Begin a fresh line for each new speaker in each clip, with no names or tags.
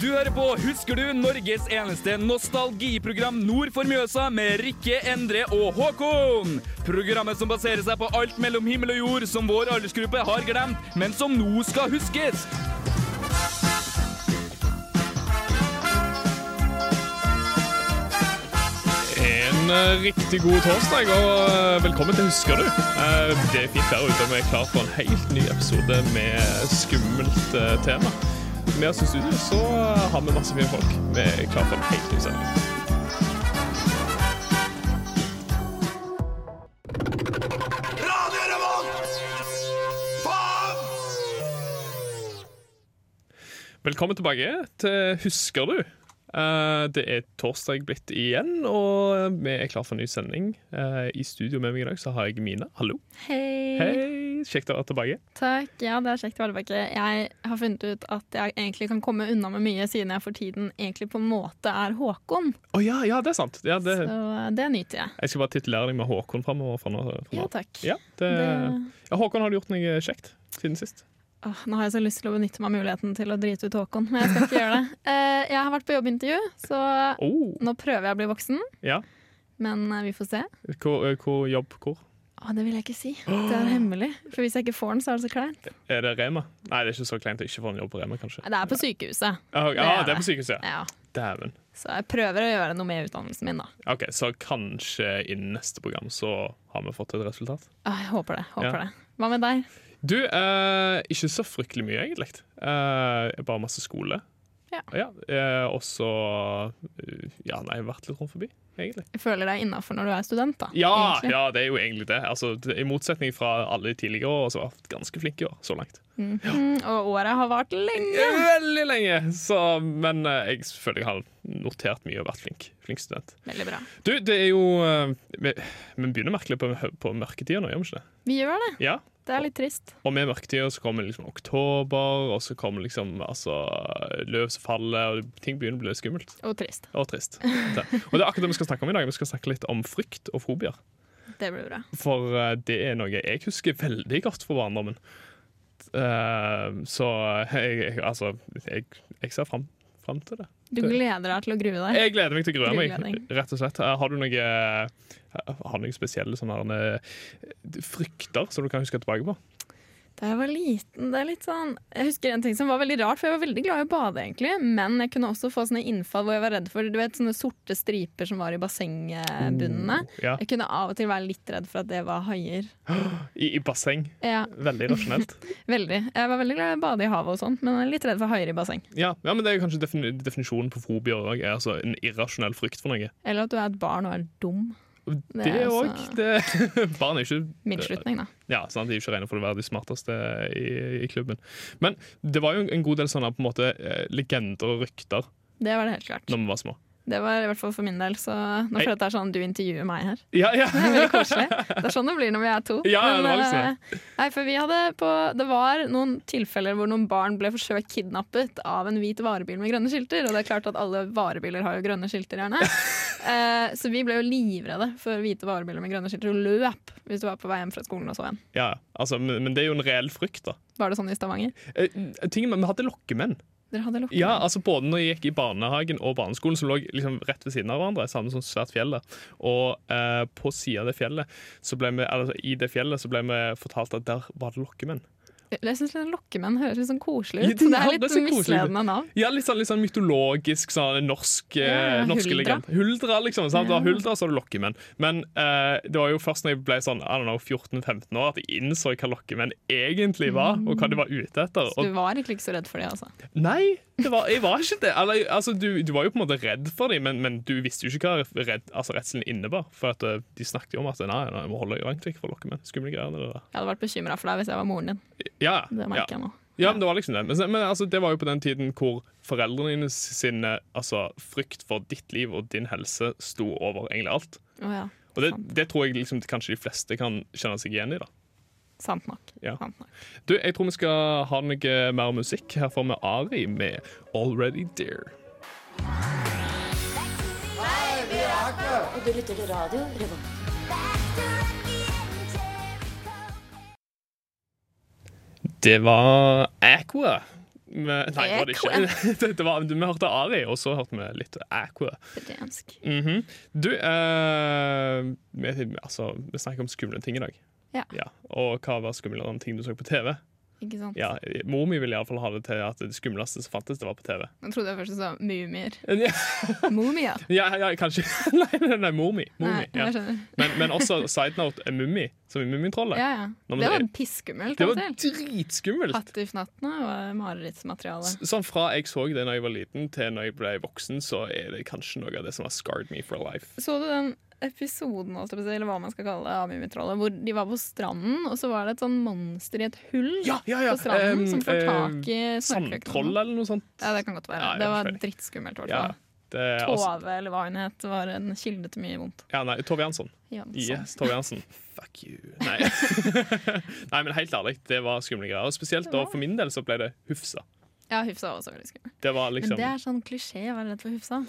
Du hører på Husker du? Norges eneste nostalgiprogram nord for Mjøsa med Rikke, Endre og Håkon. Programmet som baserer seg på alt mellom himmel og jord som vår aldersgruppe har glemt, men som nå skal huskes.
En eh, riktig god torsdag, og eh, velkommen til Husker du. Eh, det er fint der ute, vi er klar for en helt ny episode med skummelt eh, tema. Med oss i studio så eh, har vi masse fine folk. Vi er klar for en helt ny sending. Velkommen tilbake til Husker du. Eh, det er torsdag blitt igjen, og eh, vi er klar for en ny sending. Eh, I studio med meg i dag så har jeg Mina. Hallo.
Hei.
Hei, kjekt å være tilbake.
Takk. Ja, det er kjekt å være tilbake. Jeg har funnet ut at jeg egentlig kan komme unna med mye, siden jeg for tiden egentlig på en måte er Håkon.
Å ja, ja, det er sant. Ja, det,
Så eh, det nyter jeg.
jeg skal bare titulere deg med Håkon framover. Fra nå- fra
Ja,
nå.
takk.
ja, det,
Det-
ja, Håkon, har du gjort noe kjekt siden sist?
Åh, nå har jeg så lyst til å benytte meg av muligheten til å drite ut Håkon, men jeg skal ikke gjøre det. Eh, jeg har vært på jobbintervju, så
Oh,
nå prøver jeg å bli voksen.
ja.
Men eh, vi får se.
Hvor, eh, hvor jobb hvor?
Å, det vil jeg ikke si. Det er hemmelig. For hvis jeg ikke får den, så er det så kleint.
Er det Rema? Nei, det er ikke så kleint å ikke få en jobb på Rema, kanskje.
Nei, Det er på sykehuset.
Ja, ok.
det
ah,
er
det er på sykehuset, ja.
Ja.
Dæven.
Så jeg prøver å gjøre noe med utdannelsen min, da.
OK, så kanskje innen neste program så har vi fått et resultat?
Åh, jeg håper det. håper
Ja.
det. Hva med deg?
Du, eh, ikke så fryktelig mye, egentlig. Eh, bare masse skole.
Ja.
eh, og så eh, Ja, nei, vært litt rundt forbi, egentlig.
føler deg innafor når du er student, da.
Ja,
egentlig.
ja, det er jo egentlig det. Altså, det- I motsetning fra alle de tidligere år, så har jeg vært ganske flink i år, så langt.
Mhm, og året har vart lenge.
Veldig lenge! Så, men eh, jeg føler jeg har notert mye og vært flink, flink student.
Veldig bra.
Du, det er jo eh, Vi vi begynner merkelig på, på mørketida nå, gjør vi ikke det?
Vi gjør det.
Ja?
Det er litt trist.
Og med mørketida så kommer liksom oktober, og så kommer liksom altså, løv som faller, og ting begynner å bli litt skummelt
Og trist.
og trist. Det. Og det er akkurat det vi skal snakke om i dag. Vi skal snakke litt om frykt og fobier.
Det blir bra.
For eh, det er noe jeg husker veldig godt fra barndommen. Eh, så jeg, jeg, altså, jeg, jeg ser fram, fram til det.
Du
Det-
gleder deg til å grue deg.
Jeg gleder meg til å grue meg,
Grugledning.
rett og slett. Eh, Har du noe, har du noe spesielle sånne her, eh, frykter som du kan huske tilbake på?
Da jeg var liten, det er litt sånn Jeg husker en ting som var veldig rart, for jeg var veldig glad i å bade, egentlig. Men jeg kunne også få sånne innfall hvor jeg var redd for du vet, sånne sorte striper som var i bassengbunnene.
Ja.
Jeg kunne av og til være litt redd for at det var haier.
I, I basseng.
Ja,
Veldig rasjonelt.
veldig. Jeg var veldig glad i å bade i havet og sånn, men jeg er litt redd for haier i basseng.
Ja, ja, men det er kanskje defini definisjonen på fobier òg. Altså en irrasjonell frykt for noe.
Eller at du er et barn og er dum.
Og
Det
Det
er
òg.
altså-
Barn er ikke eh,
Midtslutning, da.
ja, sant, de er ikke regnet for å være de smarteste i, i klubben. Men det var jo en god del sånne på en måte eh, legender og rykter
Det var det helt klart.
når vi var små.
Det var i hvert fall for min del, så nå
Hei.
føler jeg at det er sånn du intervjuer meg her.
Ja, ja.
Det er veldig koselig. Det er sånn det blir når vi er to.
Ja, det var liksom
eh, nei, for vi hadde på, det var noen tilfeller hvor noen barn ble forsøkt kidnappet av en hvit varebil med grønne skilter, og det er klart at alle varebiler har jo grønne skilter gjerne. Eh, så vi ble jo livredde for hvite varebiler med grønne skilter og løp hvis du var på vei hjem fra skolen og så en.
ja altså, men, men det er jo en reell frykt, da.
Var det sånn i Stavanger?
Eh, ting, men vi hadde lokkemenn.
Dere hadde lukket
Ja, altså Både når jeg gikk i barnehagen og barneskolen, som lå liksom rett ved siden av hverandre, samme som svært fjell, der. og eh, på siden av det fjellet, så ble vi, eller, i det fjellet så ble vi fortalt at der var det lokkemenn.
Jeg syns lokkemenn høres litt sånn koselig
Ja,
ut.
de
det er
hadde
litt
så koselig ut.
misledende navn.
Ja, Litt sånn, litt sånn mytologisk sånn, norsk eh,
Ja, ja,
norske
Huldra.
legend. Huldra, liksom. Sant? Det var
Ja.
Huldra, så var det lokkemenn. Men eh, det var jo først når jeg ble sånn, I don't know, 14-15 år, at jeg innså hva lokkemenn egentlig var, og hva de var ute etter.
Så
Og
du var egentlig ikke så redd for det, altså?
Nei, det var, jeg var ikke det. Eller, altså, du, du var jo på en måte redd for dem, men, men du visste jo ikke hva redd, altså, redselen innebar. For at, eh, de snakket jo om at nei, nei, jeg må holde langt vekk fra lokkemenn. Skumle greier. Det der.
Jeg hadde vært bekymra for deg hvis jeg var moren din.
Ja,
Det
ja.
merker jeg nå.
ja, men det var liksom det. Men, så- men altså, det var jo på den tiden hvor foreldrene dine sin eh, altså, frykt for ditt liv og din helse sto over egentlig alt.
Å ja.
Og det,
Sant.
det tror jeg liksom, kanskje de fleste kan kjenne seg igjen i. da.
Sant nok.
Ja.
Sant nok.
Du, Jeg tror vi skal ha noe eh, mer musikk. Her får vi Ari med 'Already There'.
Du lytter til radio Revolt.
Det var Aqua Vi, nei, det var det ikke. Dette var, vi hørte Ari, og så hørte vi litt Aqua.
Pedansk.
Mhm. Du, eh, vi, altså, vi snakker om skumle ting i dag.
Ja.
Og hva var skumlere enn ting du så på TV?
Ikke sant?
Ja, Mor mi ville iallfall ha det til at det skumleste som fantes, det var på TV.
Jeg trodde jeg først du sa mumier.
Ja,
Mumia.
ja, ja kanskje Nei, nei, nei mor mi. Mor
Nei,
mi ja.
jeg skjønner.
men, men også side note eh, Mummi, som i Mummitrollet.
Ja, ja.
Nå, men
Det
det-
var piskummelt.
Det var
av og til.
dritskummelt!
Hattifnattene og marerittsmateriale.
S- Sånn Fra jeg så det da jeg var liten, til når jeg ble voksen, så er det kanskje noe av det som har scarred me for life.
Så du den episoden holdt jeg på å si, eller hva man skal kalle det, av Mummitrollet, hvor de var på stranden, og så var det et sånn monster i et hull
Ja, ja, ja.
på
Em,
stranden som får tak i
em, Sandtroll
snorkløkene.
eller noe sånt.
Ja, det kan godt være.
Ja, ja,
det var
selvfølgelig.
drittskummelt. i hvert
Ja,
fall.
det, er altså,
Tove, eller hva hun het, var en kilde til mye vondt.
ja, nei, Tove Jansson.
Ja, sånn.
Yes, Tove Jansen. Fuck you. Nei. Nei, men helt ærlig, det var skumle greier. Og spesielt da, for min del så ble det Hufsa.
Ja, Hufsa var også veldig skummel.
Det var liksom
Men det er sånn klisjé å være redd for Hufsa.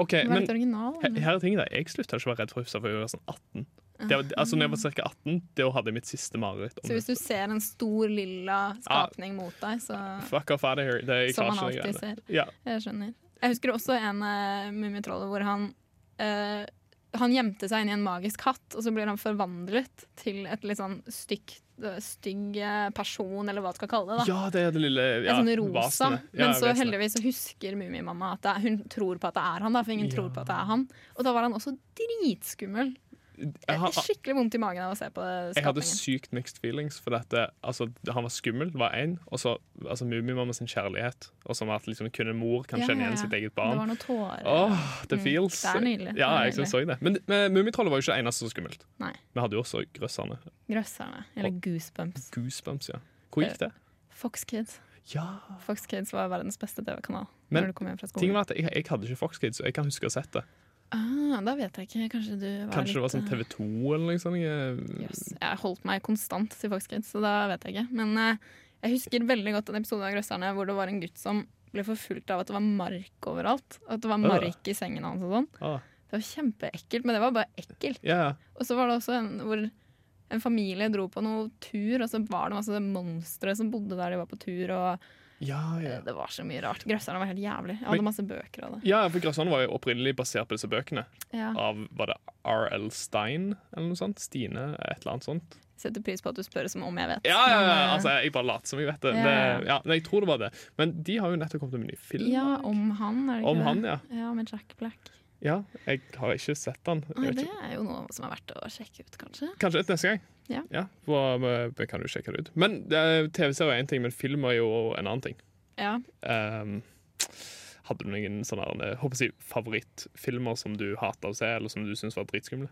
OK,
Det var
Eh, men
litt original.
he- her er tingen, da. Jeg slutta ikke å være redd for Hufsa før jeg var sånn 18. Det var, altså, når jeg var ca. 18, da hadde jeg mitt siste mareritt. om
Ah, mm. Så hvis du
Hufsa.
ser en stor lilla
Ja.
skapning mot deg, så
Fuck off out of here. Det, jeg
Som
klarer
man
ikke
alltid
det greiene.
ser.
Ja.
Jeg skjønner. Jeg husker også en uh, Mummitrollet hvor han eh, Han gjemte seg inn i en magisk hatt, og så blir han forvandlet til et litt sånn stygt eh, Stygg eh, person, eller hva du skal kalle det. da
ja, det er det lille ja,
En sånn rosa.
vasenet. Ja,
Men så
vesenet.
heldigvis så husker Mummimamma at det er, hun tror på at det er han, da, for ingen
Ja.
tror på at det er han. Og da var han også dritskummel.
Jeg har-
Skikkelig vondt i magen av å se på det
Jeg hadde
skapningen.
sykt mixed feelings. For dette, altså, han var skummel, var én. Og så altså, Mummimamma sin kjærlighet. Og som at liksom, kun en mor kan
Ja,
kjenne
ja,
igjen
ja.
sitt eget
Det
barn.
var noen tårer.
Åh, det
Mm.
feels.
Det er nydelig.
Ja,
Det er
jeg synes også det. Men, men Mummitrollet var jo ikke det eneste som var skummelt.
Nei.
Vi hadde jo også grøsserne.
Grøsserne. Eller Goosebumps.
Goosebumps, ja. Hvor gikk det?
Fox Kids.
Ja.
Fox Kids var verdens beste TV-kanal.
Men
når du kom hjem fra
Ting
skolen.
var at jeg, jeg hadde ikke Fox Kids, så jeg kan huske å ha sett det.
Ah, da vet jeg ikke. Kanskje du var
Kanskje det var
litt,
sånn
eh,
TV2 eller noe sånt. jeg-
Jøss. Jeg holdt meg konstant til Fox Kids, så da vet jeg ikke. Men eh, jeg husker veldig godt en episode av Grøsserne hvor det var en gutt som ble forfulgt av at det var mark overalt. At det var mark i sengen hans og sånn.
Ah,
Det var kjempeekkelt, men det var bare ekkelt.
ja, ja.
Og så var det også en hvor en familie dro på noe tur, og så var det masse monstre som bodde der de var på tur, og
ja, ja.
eh, det var så mye rart. Grøsserne var helt jævlig. Jeg hadde
Men-
masse bøker av det.
Ja, for Grøsserne var jo opprinnelig basert på disse bøkene.
Ja.
Av var det R.L. Stein eller noe sånt? Stine, et eller annet sånt.
Setter pris på at du spør som om jeg vet.
Ja, ja, ja.
men, eh,
Altså, jeg bare later som jeg vet det.
Ja,
det
ja, ja.
ja, nei, jeg tror det var det. Men de har jo nettopp kommet med en ny film.
ja, om han, er det ikke
Om
det?
han, ja.
Ja, med Jack Black.
Ja, jeg har ikke sett den. Jeg
Nei,
vet
det
ikke.
er jo noe som er verdt å sjekke ut, kanskje.
Kanskje et neste gang.
Ja.
for vi, vi kan jo sjekke det ut. Men eh, TV-serie er én ting, men film er jo en annen ting.
Ja.
Ehm, hadde du noen sånne eh, håper jeg, å si, favorittfilmer som du hater å se, eller som du syns var dritskumle?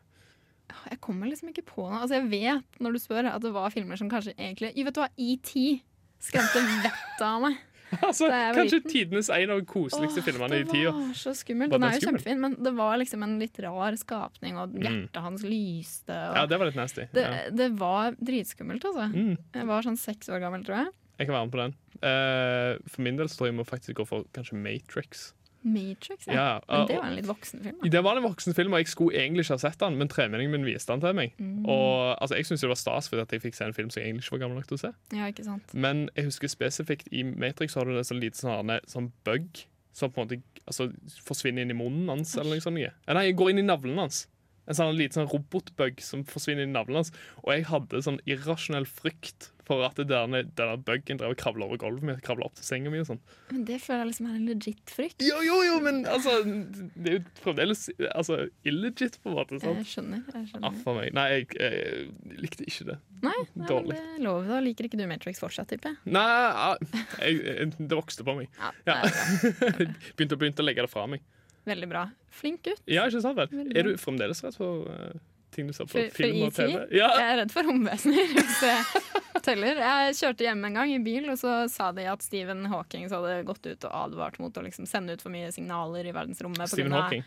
Jeg kommer liksom ikke på noe. Altså, jeg vet når du spør at det var filmer som kanskje egentlig Jo, vet du hva, ET skremte vettet av meg.
altså,
Da jeg var
kanskje
liten.
tidenes en av de koseligste
Åh,
filmene i
det
tida.
var så skummelt.
Var den
Den er jo
skummel? Mm.
kjempefin, men det var liksom en litt rar skapning, og hjertet hans lyste. Og
Ja, det var litt nasty.
det,
Ja.
det var dritskummelt, altså.
Mm,
Jeg var sånn seks år gammel, tror jeg.
jeg kan være med på den. Eh, for min del så tror jeg vi må faktisk gå for kanskje Matrix.
Matrix, ja.
Ja,
Men
eh,
det var en litt voksen film.
Det var en voksen film, og jeg skulle egentlig ikke ha sett den, men tremenningen min viste den til meg. Og altså, Jeg syntes det var stas fordi at jeg fikk se en film som jeg egentlig ikke var gammel nok til å se.
Da. Ja, ikke sant.
Men jeg husker spesifikt i Matrix så har du det sånn lite sånn, her, sånn bug som på en måte altså, forsvinner inn i munnen hans. eller noe sånt. Ja, Nei, går inn i navlen hans. En sånn liten sånn robotbug som forsvinner inn i navlen hans. Og jeg hadde sånn irrasjonell frykt for at denne, denne bugen drev og kravla over gulvet mitt, kravla opp til senga mi og sånn.
Men det føler jeg liksom er en legit frykt.
Jo, jo, jo, men altså Det er jo fremdeles altså, illegit, på en måte. sant? Ah,
Jeg skjønner. jeg skjønner.
Aff a meg. Nei, jeg, jeg likte ikke det.
Nei, nei men
Dårlig.
det er lov. Da liker ikke du Matrix fortsatt, tipper jeg.
Nei, ah, jeg, jeg, det vokste på meg.
Ja,
Ja.
det er bra.
Begynte, begynte å legge det fra meg.
Veldig bra. Flink gutt.
Ja, ikke sant vel?
Veldig bra.
Er du fremdeles redd for eh, ting du ser på
For- E for
film og
E.T.?
TV? Ja.
Jeg er redd for romvesener. hvis jeg teller. Jeg kjørte hjem en gang i bil, og så sa de at Stephen Hawking hadde gått ut og advart mot å liksom sende ut for mye signaler i verdensrommet. på
Stephen
grunn av-
Hawking.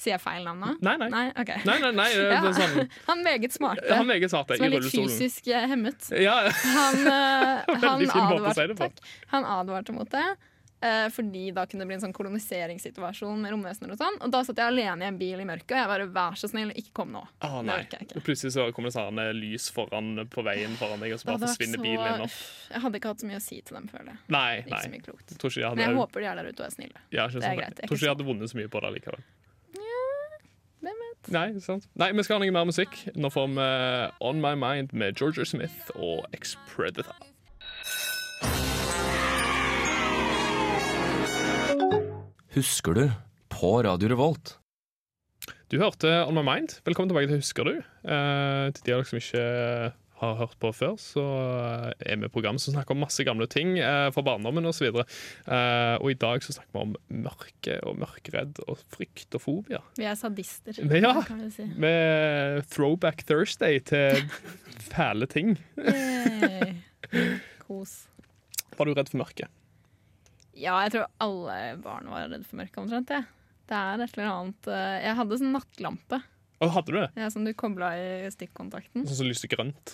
Sier jeg feil navn nå?
Nei, nei.
Nei, ok.
Nei, nei, nei, det
Ja.
er sånn,
Han meget smarte.
han meget smart
som
i
er litt
rullestolen.
fysisk eh, hemmet.
Ja,
Han, eh, han,
Veldig fin måte å si
advarte,
det på.
takk. han advarte mot det. Eh, fordi da kunne det bli en sånn koloniseringssituasjon med romvesener og sånn. Og da satt jeg alene i en bil i mørket, og jeg bare vær så snill, ikke kom nå.
Ah,
Det
nei.
orker jeg ikke.
Plutselig så kommer det sånn eh, lys foran på veien foran deg, og så
Det
bare
hadde vært
forsvinner
så-
bilen din opp.
Jeg hadde ikke hatt så mye å si til dem, føler jeg.
Nei,
Ikke
nei.
så mye klokt.
Jeg tror ikke de hadde,
Men jeg håper de er der ute og er snille.
Ja, ikke
det er
sant.
greit, det er
Jeg tror
ikke
ikke de hadde vunnet så mye på det likevel.
Hvem vet?
Nei, sant. Nei, vi skal ha noe mer musikk. Nå får vi eh, On My Mind med Georgia Smith og Ex-Predator.
Husker du? På Radio Revolt.
Du hørte On My Mind. Velkommen tilbake til Husker du. Eh, til de av dere som ikke eh, har hørt på før, så eh, er vi et program som snakker om masse gamle ting eh, fra barndommen osv. Og, uh, og i dag så snakker vi om mørke og mørkeredd og frykt og fobia.
Vi er sadister,
Men ja.
kan vi si.
Med throwback Thursday til fæle ting.
Yay. Kos.
Var du redd for mørket?
Ja, jeg tror alle barn var redd for mørket omtrent, jeg. Det er et eller annet eh, Jeg hadde sånn nattlampe
Og hadde du det?
ja, som du kobla i stikkontakten.
Sånn som lyste grønt?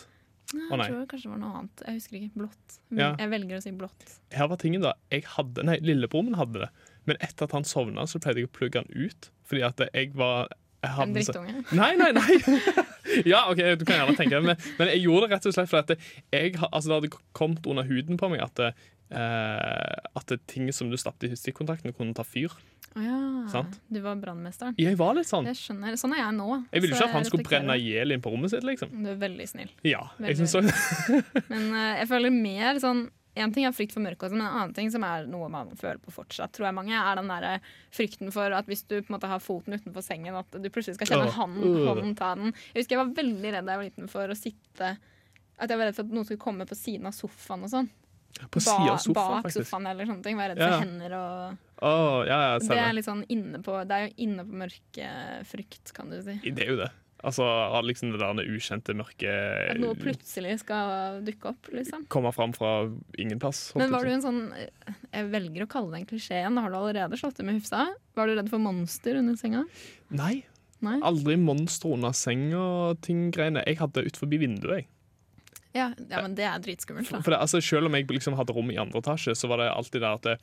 Å, nei.
Jeg tror kanskje det var noe annet. Jeg husker ikke. Blått.
Ja.
Jeg velger å si blått.
her var tingen da Jeg hadde, nei, lillebror min hadde det Men etter at han sovna så pleide jeg å plugge han ut Fordi at jeg var jeg
En
hadde så-
drittunge.
Nei, nei, nei Ja, ok, du kan gjerne tenke det men, men jeg gjorde det rett og slett fordi at jeg, ha- altså, Det hadde kommet under huden på meg At, det, eh, at det ting som du stappte i stikkontakten Kunne ta fyr
Å ja.
Sant.
Du var brannmesteren.
Jeg var litt sånn
Jeg skjønner. Sånn er jeg nå.
Jeg ville
så
ikke at han skulle
respekterer
brenne
det. Mm. eh,
ihjel inn på rommet sitt liksom
Du er veldig snill.
Ja, jeg
Veldig.
synes så
Men eh, jeg føler mer sånn En ting er frykt for mørke, også, men en annen ting som er noe man føler på fortsatt, tror jeg mange, er den der frykten for at hvis du på en måte har foten utenfor sengen, at du plutselig skal kjenne
Åh,
hånden,
øh.
hånden ta den. Jeg husker jeg var veldig redd da jeg var liten for å sitte At jeg var redd for at noen skulle komme på siden av sofaen og sånn.
På siden av
Ba-
sofaen
bak
faktisk
sofaen eller sånne ting. Var jeg redd
Ja.
for hender og
Åh, ja, ja,
Det er
stemmer
litt sånn inne på Det er jo inne på mørkefrykt, kan du si.
Det er jo det Altså, liksom det der ukjente mørke
At
Eh.
noe plutselig skal dukke opp, liksom.
komme fram fra ingen plass. holdt
Men var du
jeg
en sånn Jeg velger å kalle det en klisjé igjen, da har du allerede slått det med hufsa. Var du redd for monster under senga?
på å si. Nei,
Nei?
aldri monstre under seng og ting greiene. Jeg hadde det ut forbi vinduet. Jeg.
Ja, ja men det er dritskummelt, da.
For det, altså, selv om jeg liksom hadde rom i andre etasje, så var det alltid der at det,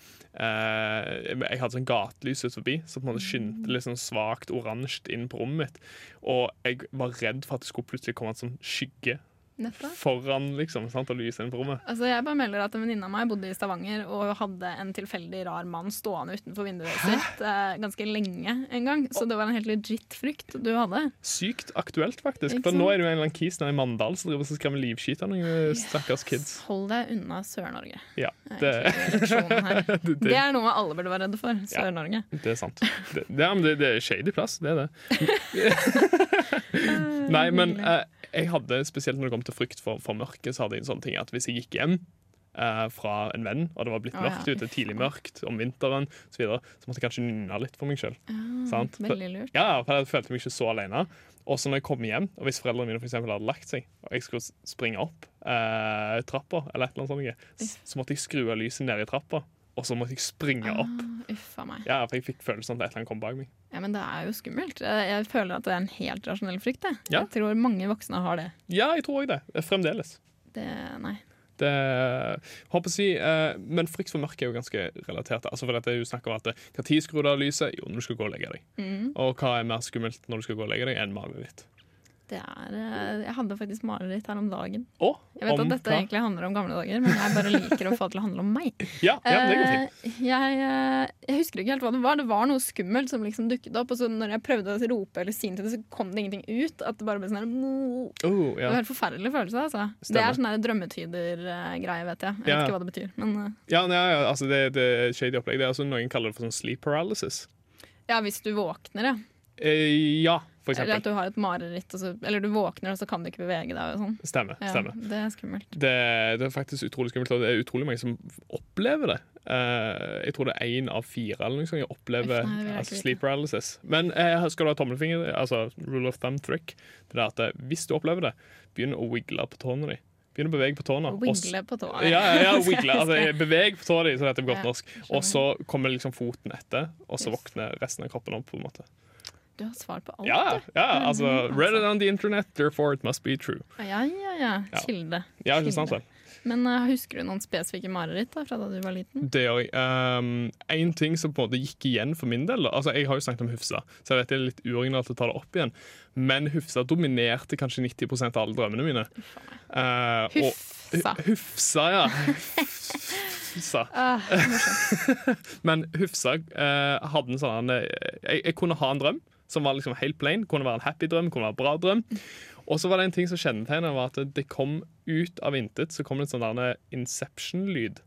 eh, jeg hadde sånn gatelys ut forbi, så på en måte
Mm.
skinte litt sånn svakt oransje inn på rommet mitt. Og jeg var redd for at det skulle plutselig komme en sånn skygge
Nettopp.
foran liksom, sant, og lyse inn på rommet.
Altså, jeg bare melder at En venninne av meg bodde i Stavanger og hadde en tilfeldig rar mann stående utenfor vinduet sitt eh, ganske lenge en gang. Så det var en helt legit frykt du hadde.
Sykt aktuelt, faktisk.
Ikke
For
sant?
nå er det jo en eller annen kis nede i Mandal som driver og skremmer livskiten av noen stakkars kids.
Hold deg unna Sør-Norge.
Ja,
er
det,
egentlig reaksjonen her.
det,
Det er noe alle burde være redde for. Sør-Norge.
Det er sant. Det, det, ja, men det, det er shady plass, det er det. Nei, men eh, jeg hadde, spesielt når det kom til frykt for, for mørket, så hadde jeg en sånn ting at hvis jeg gikk hjem eh, fra en venn, og det var blitt
Å,
mørkt
ja.
ute, tidlig mørkt om vinteren osv., så, videre, så måtte jeg kanskje nynne litt for meg sjøl. sant.
Veldig lurt.
Ja, for jeg følte meg ikke så alene. Og så når jeg kom hjem, og hvis foreldrene mine for eksempel hadde lagt seg, og jeg skulle s- springe opp eh, trappa, eller et eller annet sånt, s- så måtte jeg skru av lyset ned i trappa, og så måtte jeg springe opp.
Ah, Uff a meg.
Ja, for jeg fikk følelsen av at et eller annet kom bak meg.
Ja, men det er jo skummelt. Jeg jeg føler at det er en helt rasjonell frykt. Jeg,
Ja.
jeg tror mange voksne har det.
Ja, jeg tror òg det. Eh, Fremdeles.
det nei.
Det, håper å si, eh, men frykt for mørket er jo ganske relatert. Altså for dette er jo snakk om at eh, Hva tid skrur du av lyset? Jo, når du skal gå og legge deg.
Mm,
Og hva er mer skummelt når du skal gå og legge deg, enn mareritt?
det er, eh, jeg hadde faktisk mareritt her om dagen.
Og
Jeg vet
om
at dette
hva-
egentlig handler om gamle dager, men jeg bare liker å få det til å handle om meg.
Ja, ja men det går fint.
Eh, jeg, eh, jeg husker ikke helt hva det var. Det var noe skummelt som liksom dukket opp. Og så når jeg prøvde å rope eller si noe til det, så kom det ingenting ut. At det bare ble sånn her, «Mo».
Oh,
Det
ja.
var en helt forferdelig følelse. altså. Det
Stemmer.
er sånn her drømmetyder-greie, vet jeg. Jeg vet
Ja.
ikke hva det betyr. Men eh,
Ja, nei, ja, altså det, det er et shady opplegg. Det er altså Noen kaller det for sånn sleep paralysis.
ja, hvis du våkner, ja.
Eh, ja, for
Eller at
eksempel.
du har et mareritt, og så, eller du våkner og så kan du ikke bevege deg. Og sånn.
Stemmer.
ja,
stemmer.
det er skummelt.
Det, det er faktisk utrolig skummelt, og det er utrolig mange som opplever det. Eh, jeg tror det er én av fire eller noe sånt jeg opplever
Uff, nei, det vil jeg
altså,
ikke
sleep paralysis. Men eh, skal du ha tommelfinger, altså rule of thumb trick, det er at eh, hvis du opplever det, begynn å wiggle på tåene dine. Begynn å bevege på tåene. Ah, og s-
Wingle på tåa.
Ja, ja, ja,
Skal jeg
wiggle. Altså,
si.
jeg beveg på tåa di, så det heter på godt
Ja,
norsk. Og så kommer liksom foten etter, og så
Yes.
våkner resten av kroppen opp. på en måte.
Du har svar på alt, Mm, altså.
Ja,
du.
ja, altså Read it on the internet, therefore it must be true.
Ja, ja, ja.
Ja.
Kilde.
Ja, ikke sant?
Kilde.
vel?
Men eh, husker du noen spesifikke mareritt da, fra da du var liten?
Det gjør jeg. Um, en ting som på en måte gikk igjen for min del da. altså Jeg har jo snakket om Hufsa, så jeg vet det er litt uoriginalt å ta det opp igjen. Men Hufsa dominerte kanskje 90 av alle drømmene mine. Uh, og-
Hufsa.
Hufsa, ja. Hufsa.
Ah,
Men Hufsa eh, hadde en sånn eh, jeg, jeg kunne ha en drøm som var liksom helt plain. Kunne være en happy drøm, kunne være en bra drøm. Og så var det en ting som kjennetegnet var at det kom ut av intet så kom det en sånn der inception-lyd.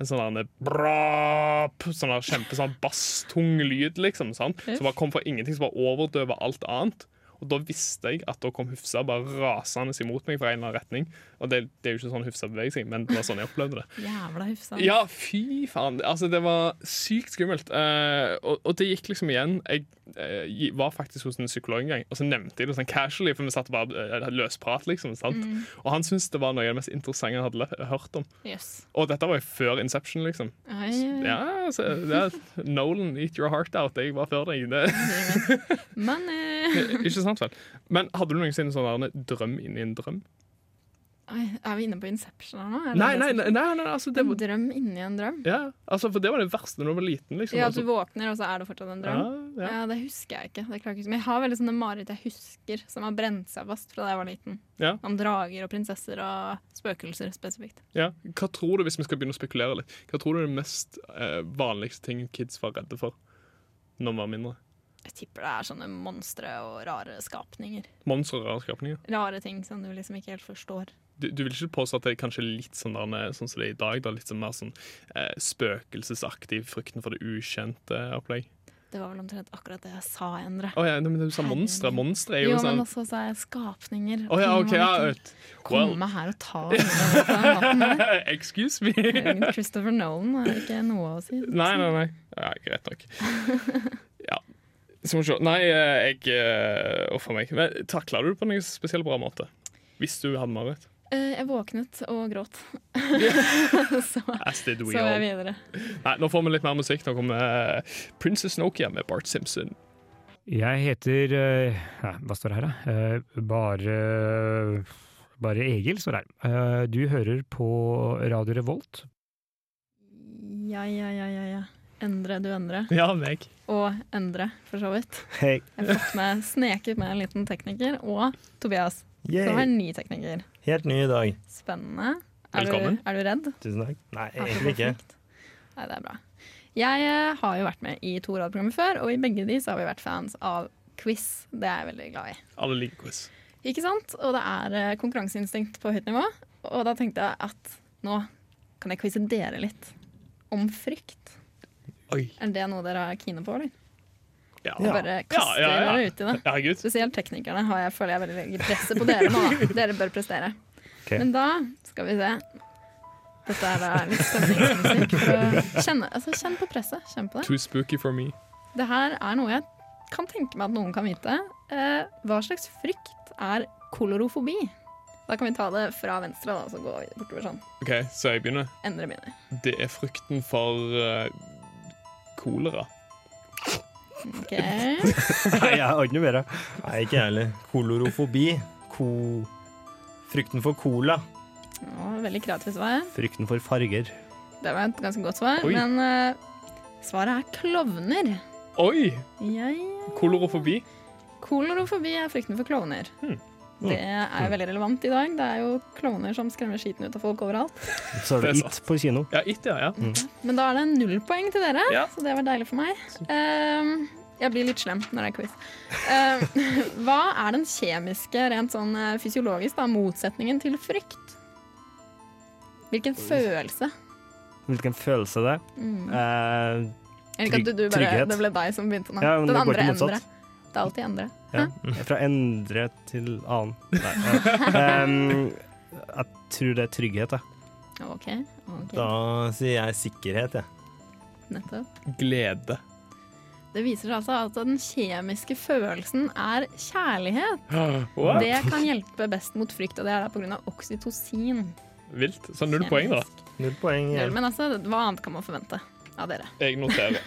En sånn der brap, sånn der kjempe sånn basstung lyd, liksom. Sant? Som bare kom fra ingenting, som bare overdøver alt annet. Og da visste jeg at da kom Hufsa bare rasende imot meg fra en eller annen retning. Og det, det er jo ikke sånn Hufsa beveger seg, men det var sånn jeg opplevde det.
jævla hufsa.
Ja, fy faen. Altså, det var sykt skummelt. Eh, og, og det gikk liksom igjen. Jeg eh, gi- var faktisk hos en psykolog en gang, og så nevnte jeg det sånn casually, for vi satt og bare eh, løsprat, liksom. sant? Og han syntes det var noe av det mest interessante han hadde le- hørt om.
Yes.
Og dette var jo før Inception, liksom.
Ai,
Ja, altså, det er, Nolan, eat your heart out. Jeg var før deg. Det,
Men eh,
ikke sant, vel? Men hadde du noensinne sånn der en drøm inni en drøm?
ai, er vi inne på Inception her nå? Er det
Nei,
det
nei,
som-
nei, nei, nei altså, det
En
var,
drøm inni en drøm?
ja, altså, for det var det verste når du var liten, liksom.
Ja, at
altså.
du våkner, og så er det fortsatt en drøm?
Ja, ja.
Ja, Det husker jeg ikke. Det klarer jeg ikke. Men jeg har veldig sånne mareritt jeg husker, som har brent seg fast fra da jeg var liten.
Ja.
Om drager og prinsesser og spøkelser spesifikt.
Ja. Hva tror du, hvis vi skal begynne å spekulere litt, hva tror du er den mest eh, vanligste ting kids var redde for når vi var mindre?
Jeg tipper det er sånne monstre og rare skapninger.
Monstre og rare skapninger.
Rare ting som du liksom ikke helt forstår.
Du, du vil ikke påstå at det er kanskje litt sånn, der, eh, sånn som det er i dag? Da, litt sånn mer sånn eh, spøkelsesaktig frykten for det ukjente opplegg?
Det var vel omtrent akkurat det jeg sa, Endre.
Å ja, nei, men du sa monstre. Monstre er
Jo,
jo
men
sånn
også sa jeg skapninger.
Å ja, OK. Ja, ut.
Komme
Well,
her og ta meg på den måten her.
excuse me.
Christopher Nolan har ikke noe å si.
Nei, nei, nei. Ja, greit nok. Ja. Så må vi se. Nei, eh, jeg eh, Uff a meg. Men Takla du det på noen spesiell bra måte? Hvis du hadde mareritt?
Eh, Jeg våknet og gråt. så
As did
så
we
jeg
all.
videre.
Nei, nå får vi litt mer musikk. Nå kommer eh, Princess Nokia med Bart Simpson.
Jeg heter eh, nei, Hva står det her, da? Eh, Bare Bare Egil står det her. Eh, Du hører på Radio Revolt.
Ja, ja, ja, ja, ja. Endre du endre.
Ja, meg.
Og endre, for så vidt. Jeg har fått med, sneket med en liten tekniker. Og Tobias, som er ny tekniker.
Helt ny i dag.
Spennende. Er
Velkommen.
Du, er du redd?
Tusen takk. Nei,
Er du
egentlig ikke.
konflikt? Nei, det er bra. Jeg eh, har jo vært med i to radprogrammer før, og i begge de så har vi vært fans av quiz. Det er jeg veldig glad i.
Alle liker quiz.
Ikke sant? Og det er eh, konkurranseinstinkt på høyt nivå. Og da tenkte jeg at nå kan jeg quize dere litt om frykt.
Oi.
Er det noe dere er kine på, eller?
Ja.
Jeg bare kaster
ja, ja.
dere uti det.
Herregud.
Spesielt teknikerne har jeg, føler jeg veldig legger presset på dere nå. da. Dere bør prestere.
Ok.
Men da skal vi se. Dette er da litt stemningsmusikk. For å kjenne, altså, kjenn på presset. Kjenn på det.
Too spooky for me.
Det her er noe jeg kan tenke meg at noen kan vite. Eh, hva slags frykt er kolorofobi? Da kan vi ta det fra venstre, da, så gå bortover sånn.
OK, så jeg begynner.
Endre begynner.
Det er frykten for eh, kolera.
Ok.
Nei, jeg har ikke noe bedre. Nei, ikke jeg heller. Kolorofobi. Ko... Frykten for cola.
Å, veldig kreativt svar.
Frykten for farger.
Det var et ganske godt svar.
Oi.
Men eh, svaret er klovner.
Oi!
Jeg
Kolorofobi.
Kolorofobi er frykten for klovner.
Hmm.
Det er veldig relevant i dag. Det er jo klovner som skremmer skiten ut av folk overalt.
Så er det
Det er
It på kino.
Ja, it, ja. ja.
Men da er det null poeng til dere,
Ja.
så det var deilig for meg. Ehm, jeg blir litt slem når det er quiz. Ehm, hva er den kjemiske, rent sånn eh, fysiologisk, da, motsetningen til frykt? Hvilken følelse?
Hvilken følelse det er.
Mm.
Eh,
Jeg liker at du, du bare,
Trygghet.
det ble deg som begynte nå.
Ja, men
den
det går
andre
til
endre.
motsatt.
Det er alltid endre.
ja. Fra endre til annen. Nei, ja. Em, jeg tror det er trygghet, jeg.
OK. ok,
Da sier jeg sikkerhet, jeg.
Nettopp.
Glede.
Det viser seg altså at den kjemiske følelsen er kjærlighet.
What?
Det kan hjelpe best mot frykt, og det er da pga. oksytocin.
Vilt. Så null poeng, da.
Null poeng.
Null,
igjen.
Men altså, hva annet kan man forvente av dere?
Jeg noterer.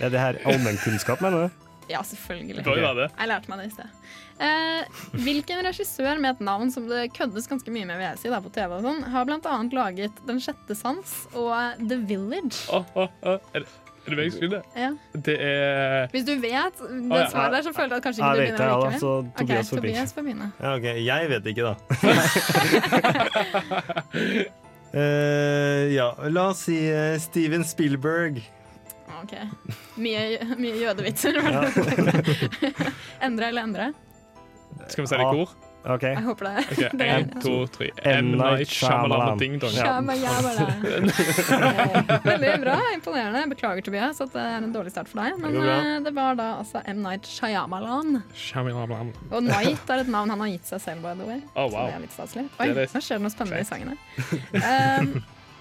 Ja, det her er allmennkunnskap, mener du?
Ja, selvfølgelig.
Det bør jo være det.
Jeg lærte meg det i sted. Eh, hvilken regissør med et navn som det køddes ganske mye med vil jeg si, da, på TV og sånn, har blant annet laget Den sjette sans og The Village?
Å, å, å. Er det er det meg som skulle?
Ja.
Det er
Hvis du vet det
ja.
svaret der, så følte jeg at kanskje
Ja,
ikke du begynner likevel.
jeg vet det, ja, så Tobias får
Ok,
begynne.
Tobias får begynne.
Ja, ok, Jeg vet ikke, da. Eh, ja, la oss si eh, Steven Spielberg.
Ok. Mye, mye jødevitser.
Ja.
endre eller endre?
Skal vi si det i kor?
Ok.
Jeg håper det.
Ok,
det er-
En, to, tre.
M.
M.
Night
Night Shyamalan
Shyamalan.
Ding Dong.
Ja.
Shabba jabba da. Veldig bra. Imponerende. Beklager, Tobias, at det er en dårlig start for deg. Men
Det går
det,
bra.
det var da altså M. Night Shyamalan.
Shyamalan.
Og Night er et navn han har gitt seg selv, by the way.
Å,
Så det
wow.
er litt staselig. Oi,
Det er litt
nå skjer det noe spennende i sangen her. Um,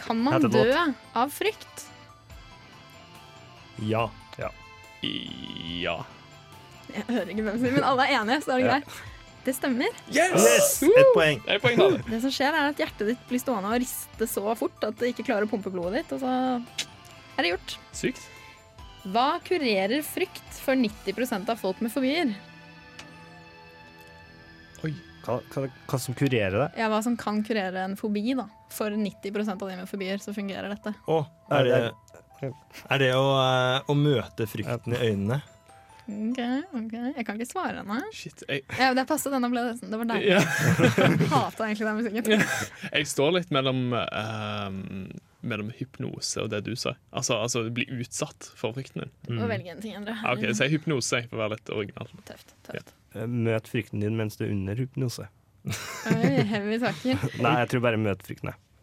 kan man
Heter det
dø
låt?
av frykt?
Ja. ja.
Ja.
Jeg hører ikke hvem som sier men alle er enige, så da er det
Ja.
greit. Det stemmer.
Yes! Ett poeng.
Det er poeng, da.
Det som skjer, er at hjertet ditt blir stående og riste så fort at det ikke klarer å pumpe blodet ditt, og så er det gjort.
Sykt.
Hva kurerer frykt for 90 av folk med fobier?
Hva, hva, hva som kurerer det?
Ja, hva som kan kurere en fobi, da. For 90 av de med fobier, så fungerer dette.
Å, er det, er det å, eh, å møte frykten i øynene?
Ok, ok. Jeg kan ikke svare ennå.
Shit. Jeg,
Ja, det passet denne ble det. Det var deilig.
ja.
Jeg hatet egentlig den musikken.
jeg står litt mellom ehm, mellom hypnose og det du sa. Altså, altså bli utsatt for frykten din.
Du må velge en ting, Endre.
Ah, OK, si hypnose jeg, for å være litt original.
Tøft. tøft.
Eh, Møt frykten din mens du er under hypnose.
Oi, heavy saker.
Nei, jeg tror bare møt frykten. jeg.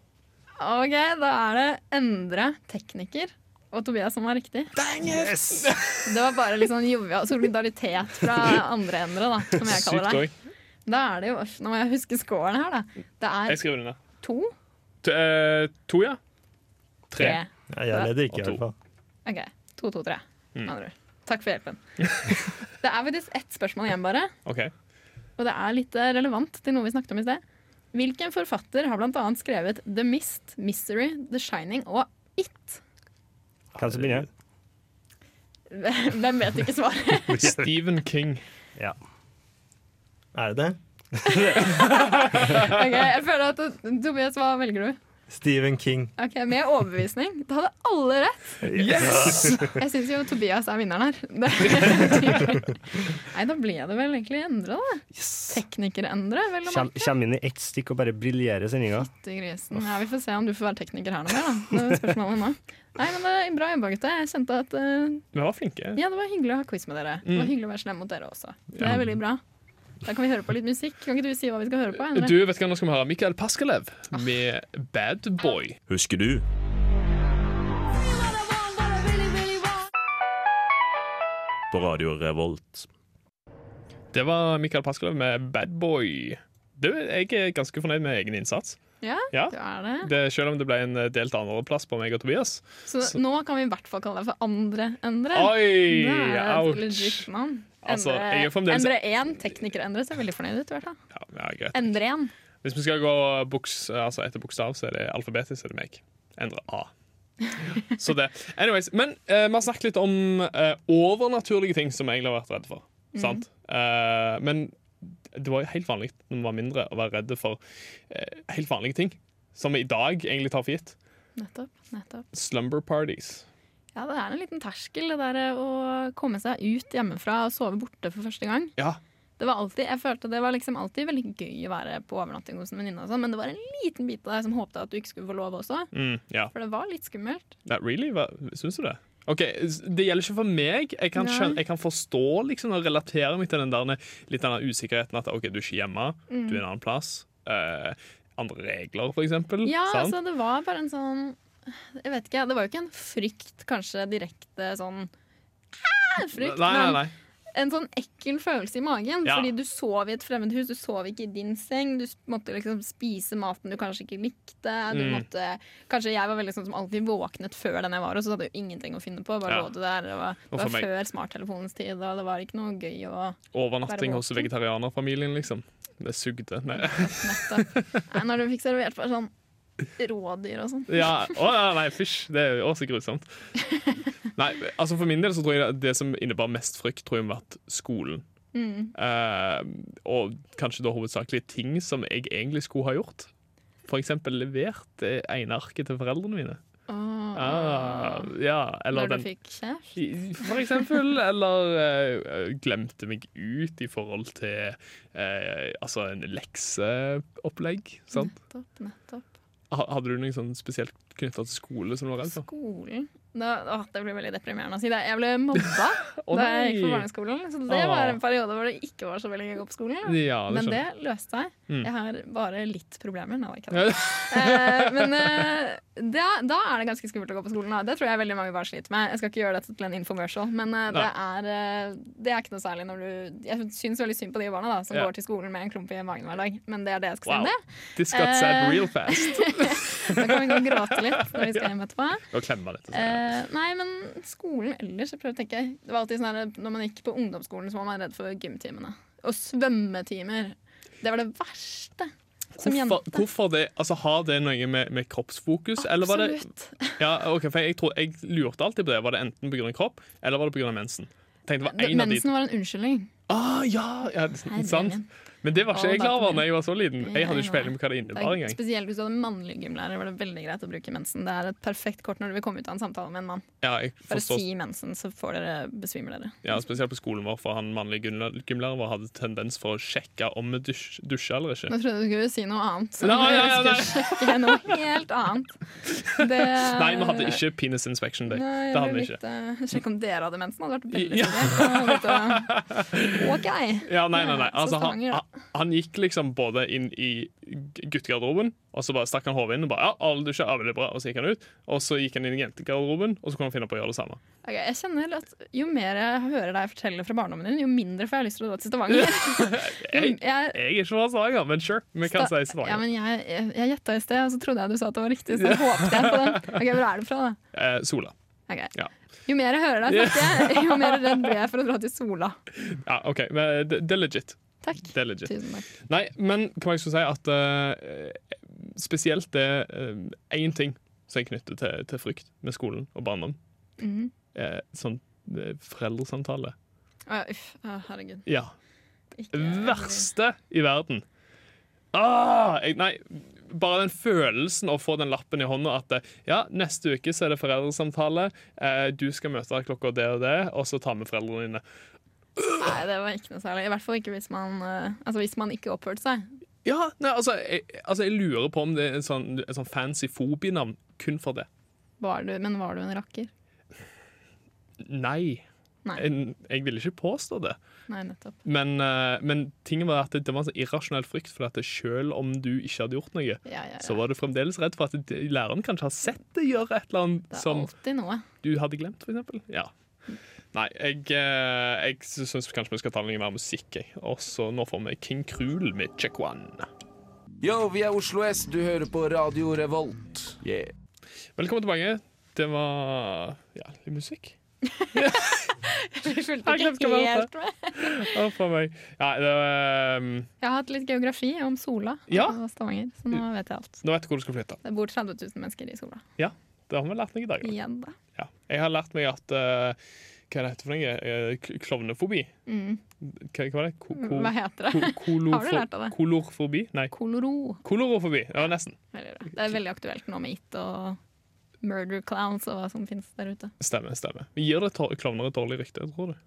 Ok, da er det Endre, tekniker, og Tobias som var riktig.
Yes!
Det var bare litt sånn jovial solidaritet fra andre Endre, da, som jeg
Sykt
kaller det.
òg.
Da er det jo, uff, Nå må jeg huske scoren her, da. Det
Jeg
er
skriver den ned.
to,
To, eh, to, ja.
tre.
Tre.
Ja, jeg leder ikke, i hvert fall.
Ok, to, to, tre.
Mm.
med andre ord. Takk for hjelpen. Det er faktisk ett spørsmål igjen, bare.
OK.
Og det er litt eh, relevant til noe vi snakket om i sted. Hvilken forfatter har bl.a. skrevet The Mist, Misery, The Shining og It?
Hvem som begynner?
Hvem vet ikke svaret?
Stephen King.
Er det det?
Ok, jeg føler at Tobias, hva velger du?
Stephen King.
Ok, Med overbevisning. Da hadde alle rett!
Yes!
Jeg syns jo Tobias er vinneren her. Det- Nei, da ble det vel egentlig Endre, da. Tekniker-Endre, vel å merke.
Kjem, kjem inn i ett stykk og bare briljerer sendinga.
Fytti grisen. Ja, vi får se om du får være tekniker her noe mer, da. Det er spørsmålet nå. Nei, men det er Bra jobba, gutta. Jeg kjente at eh,
Vi var flinke.
Ja, det var hyggelig å ha quiz med dere. Det
Mm.
var hyggelig å være slem mot dere også. Det er veldig bra. Da kan vi høre på litt musikk. Kan ikke du si hva vi skal høre på? Endre?
Du, vet du hva nå skal vi høre? Mikael Paskelev med Bad Boy.
Husker du? På Radio Revolt.
Det var Mikael Paskelev med Bad Boy. Du, jeg er ganske fornøyd med egen innsats.
Ja,
Ja.
du er det.
Det, selv om det ble en eh, delt andreplass på meg og Tobias.
Så nå kan vi i hvert fall kalle deg for Andre Endre.
Oi!
Det er et legit
Ouch.
navn.
Altså,
Endre-
jeg er fremdeles-
Endre 1, tekniker-Endre, ser veldig fornøyd ut. i hvert fall.
Ja, ja, greit.
Endre 1.
Hvis vi skal gå boks, altså etter bokstav, så er det alfabetisk, så er det meg. Endre A. Så det. Anyways, men eh, vi har snakket litt om eh, overnaturlige ting som jeg egentlig har vært redd for. Sant? Eh, men det var jo helt vanlig når man var mindre å være redd for eh, helt vanlige ting. Som vi i dag egentlig tar for gitt.
Nettopp. nettopp.
Slumber parties.
Ja, det er en liten terskel, det der eh, å komme seg ut hjemmefra og sove borte for første gang.
Ja,
Det var alltid, jeg følte det var liksom alltid veldig gøy å være på overnatting hos en venninne, og sånn, men det var en liten bit av deg som håpte at du ikke skulle få lov også.
Mm, ja.
For det var litt skummelt.
Nei, really? Hva, syns du det? Ok, s- Det gjelder ikke for meg. Jeg kan,
Nei.
skjønne, jeg kan forstå liksom, og relatere meg til den der, litt den der usikkerheten at ok, du er ikke hjemme,
Mm.
du er en annen plass. eh, andre regler, for eksempel.
Ja,
sant?
altså det var bare en sånn Jeg vet ikke, det var jo ikke en frykt, kanskje direkte sånn «Ah, Frykt,
nei, nei, nei.
men en sånn ekkel følelse i magen.
Ja.
Fordi du sov i et fremmed hus, du sov ikke i din seng. Du s- måtte liksom spise maten du kanskje ikke likte. Du
Mm.
måtte, kanskje jeg var veldig sånn som alltid våknet før den jeg var hos, så hadde jeg jo ingenting å finne på. Bare
Ja.
lå du der, det var,
Og
det
for
var
meg-
før smarttelefonens tid, og det var ikke noe gøy å
Overnatting
Være
hos
våken.
vegetarianerfamilien, liksom. Det sugde. Nei.
Nettopp. Nei, når du fikk servert bare sånn rådyr og sånn.
Ja, å, ja, nei, fysj. Det er jo også grusomt. Nei, altså For min del så tror jeg det- det som innebar mest frykt, tror jeg har vært skolen.
Mm.
Eh, og kanskje da hovedsakelig ting som jeg egentlig skulle ha gjort. For eksempel levert det ene arket til foreldrene mine.
Åh.
Ah, ja, eller
Når du
den
fikk kjæreste?
i- For eksempel, eller eh, glemte meg ut i forhold til eh, altså en lekseopplegg. Sant?
Nettopp, nettopp.
Ha- Hadde du noe sånn spesielt knytta til skole som du var redd for?
Skolen da, åh, Det blir veldig deprimerende å si det. Jeg ble mobba
Å,
da jeg gikk på
nei!
barneskolen. Så det
Åh.
var en periode hvor det ikke var så veldig gøy å gå på skolen.
Ja, det sånn,
Men
skjønner
det
jeg.
løste seg.
Mm.
Jeg har bare litt problemer. Nei, det er ikke det. Eh, men eh, da, da er det ganske skummelt å gå på skolen. Da. Det tror jeg veldig mange bare sliter med. Jeg skal ikke gjøre dette til en infomercial, men eh, det, er, eh, det er ikke noe særlig når du Jeg syns veldig synd på de barna da, som
Ja.
går til skolen med en klump i magen hver dag, men det er det jeg skal si
Wow.
om det.
This got sad
Eh.
real fast.
Da kan vi gå og gråte litt når vi skal hjem etterpå.
Og klemme litt. og sånn.
Eh, nei, men skolen ellers jeg prøver å tenke. Det var alltid sånn her, Når man gikk på ungdomsskolen, så var man redd for gymtimene. Og svømmetimer. Det var det verste. eh, Som jente.
Hvorfor, hvorfor det? Altså, Har det noe med, med kroppsfokus eller var det,
Absolutt.
ja, ok, for jeg, tror, jeg lurte alltid på det. Var det enten pga. kropp eller var det pga. mensen? Tenkte det var en av de
Mensen var en unnskyldning.
Ah, ja, ja
Herre
sant.
min.
Men det var ikke
Å,
jeg klar over
datoen.
da jeg var så liten.
Det
Jeg hadde
er
ikke
noe.
peiling på hva det
Det
innebar
er,
engang.
spesielt hvis du hadde mannlig gymlærer, var det veldig greit å bruke mensen. Det er et perfekt kort når du vil komme ut av en samtale med en mann.
Ja, jeg
Bare
forstår,
si mensen, så får dere besvimer dere.
ja, spesielt på skolen vår, for han mannlige gymlæ- gymlæreren vår hadde tendens for å sjekke om vi dusj, dusja eller ikke.
Nå trodde jeg du skulle si noe annet. Så
Nei,
nå
nei, nei,
skal jeg sjekke noe helt annet. Det,
Nei, vi hadde ikke penis inspection day.
Nei,
Det hadde vi
jeg
ikke.
ble litt, eh, Sjekk om dere hadde mensen. Hadde vært veldig
Ja.
ja. OK.
Ja, nei, nei, nei.
Ja, så
Altså, han,
Stavanger, da.
han- han gikk liksom både inn i guttegarderoben, og så bare stakk han hodet inn og bare ja, alle dusja, ja, veldig bra, og så gikk han ut. Og så gikk han inn i jentegarderoben, og så kunne han finne på å gjøre det samme.
Ok, jeg kjenner at Jo mer jeg hører deg fortelle fra barndommen din, jo mindre får jeg lyst til å dra til Stavanger.
Jeg,
Jeg,
jeg er ikke fra Stavanger, men sure, vi kan si Stavanger.
Ja, men jeg, jeg, jeg gjetta i sted, og så trodde jeg du sa at det var riktig. Så håpte jeg på den. Ok, Hvor er du fra, da?
eh, Sola.
Ok.
Ja.
Jo mer jeg hører deg snakke, jo mer redd blir jeg for å dra til Sola.
Ja, OK. Men eh, det, det er legit.
Takk.
Det er legit.
Tusen takk.
Nei, men hva jeg skulle si at eh, Spesielt det eh, én ting som jeg knytter til, til frykt med skolen og barndom.
Mhm.
Eh, sånn eh, foreldresamtale.
Å, uff, Å, herregud.
Ja.
Ikke,
Verste i verden. Ah, jeg, nei, bare den følelsen å få den lappen i hånda at eh, ja, neste uke så er det foreldresamtale, eh, du skal møte deg klokka det og det, og så ta med foreldrene dine.
Nei, det var ikke noe særlig. I hvert fall ikke hvis man, eh, altså, hvis man ikke oppførte seg.
Ja, nei, altså, jeg, altså, jeg lurer på om det er en sånn, en sånn fancy fobienavn kun for det.
Var du, men var du en rakker?
Nei.
Nei.
En- Jeg ville ikke påstå det.
Nei, nettopp.
Men, eh, men tingen var at det, det var en sånn irrasjonell frykt, for at det, selv om du ikke hadde gjort noe,
Ja, ja, ja.
så var du fremdeles redd for at det, læreren kanskje har sett deg gjøre et eller annet
det er
som
alltid noe.
du hadde glemt, for eksempel. Ja. Nei, jeg, eh, jeg syns kanskje vi skal ta noe mer musikk. jeg. Og så nå får vi King Krul med Check One.
Yo, vi er Oslo S. Du hører på Radio Revolt. Yeah.
Velkommen tilbake. Det var ja, litt musikk.
Jeg fulgte
Jeg glemte
ikke
hva det var.
helt med.
Å, for meg. Ja, det var, ehm,
Jeg har hatt litt geografi om Sola
Ja.
og Stavanger, så nå vet jeg alt.
nå vet du hvor du skal flytte.
Det bor 30 000 mennesker i Sola.
Det har vi lært noe i dag. da.
Igjen, da.
Ja. Jeg har lært meg at eh, Hva er det heter for noe? Eh, k- Klovnefobi?
Mm.
Hva, hva var det? Ko, ko,
Hva heter
ko,
det?
kolofo-
Har du lært av det?
Kolorfobi? Nei,
Koloro.
kolorofobi. Ja, nesten.
Veldig bra. Det er veldig aktuelt nå med It og Murder Clowns og hva som finnes der ute.
Stemmer. stemmer. Gir det tor- klovner et dårlig rykte, tror du?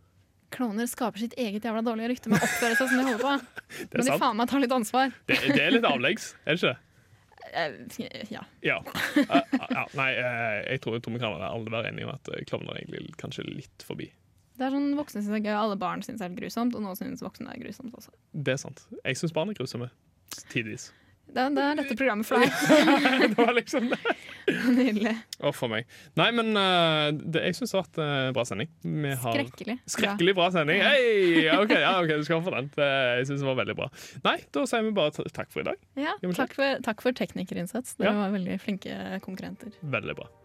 Klovner skaper sitt eget jævla dårlige rykte med å oppføre seg som de holder på.
Det er
Men de
sant.
faen meg tar litt ansvar.
Det, det er litt avleggs, er det ikke det?
Eh, Ja.
Ja. Eh, ja. Nei, eh, jeg tror, jeg tror vi kan være- alle være enige om at eh, klovner er egentlig kanskje litt forbi.
Det er sånn voksne syns det er gøy, alle barn syns det er helt grusomt, og nå syns voksne det er grusomt også.
Det er sant. Jeg syns barn er grusomme. Tidvis.
Det, det er dette programmet for deg.
Det var liksom det.
Nydelig.
Å, for meg. Nei, men eh, det, jeg syns det har vært eh, bra sending. Vi har
Skrekkelig.
Skrekkelig bra sending. Hei! Ja, ok, ja, ok, du skal få den. Det- Jeg synes det var veldig bra. Nei, da sier vi bare ta- takk for i dag.
Ja,
men
takk for, takk for teknikerinnsats. Dere
Ja.
var veldig flinke konkurrenter.
Veldig bra.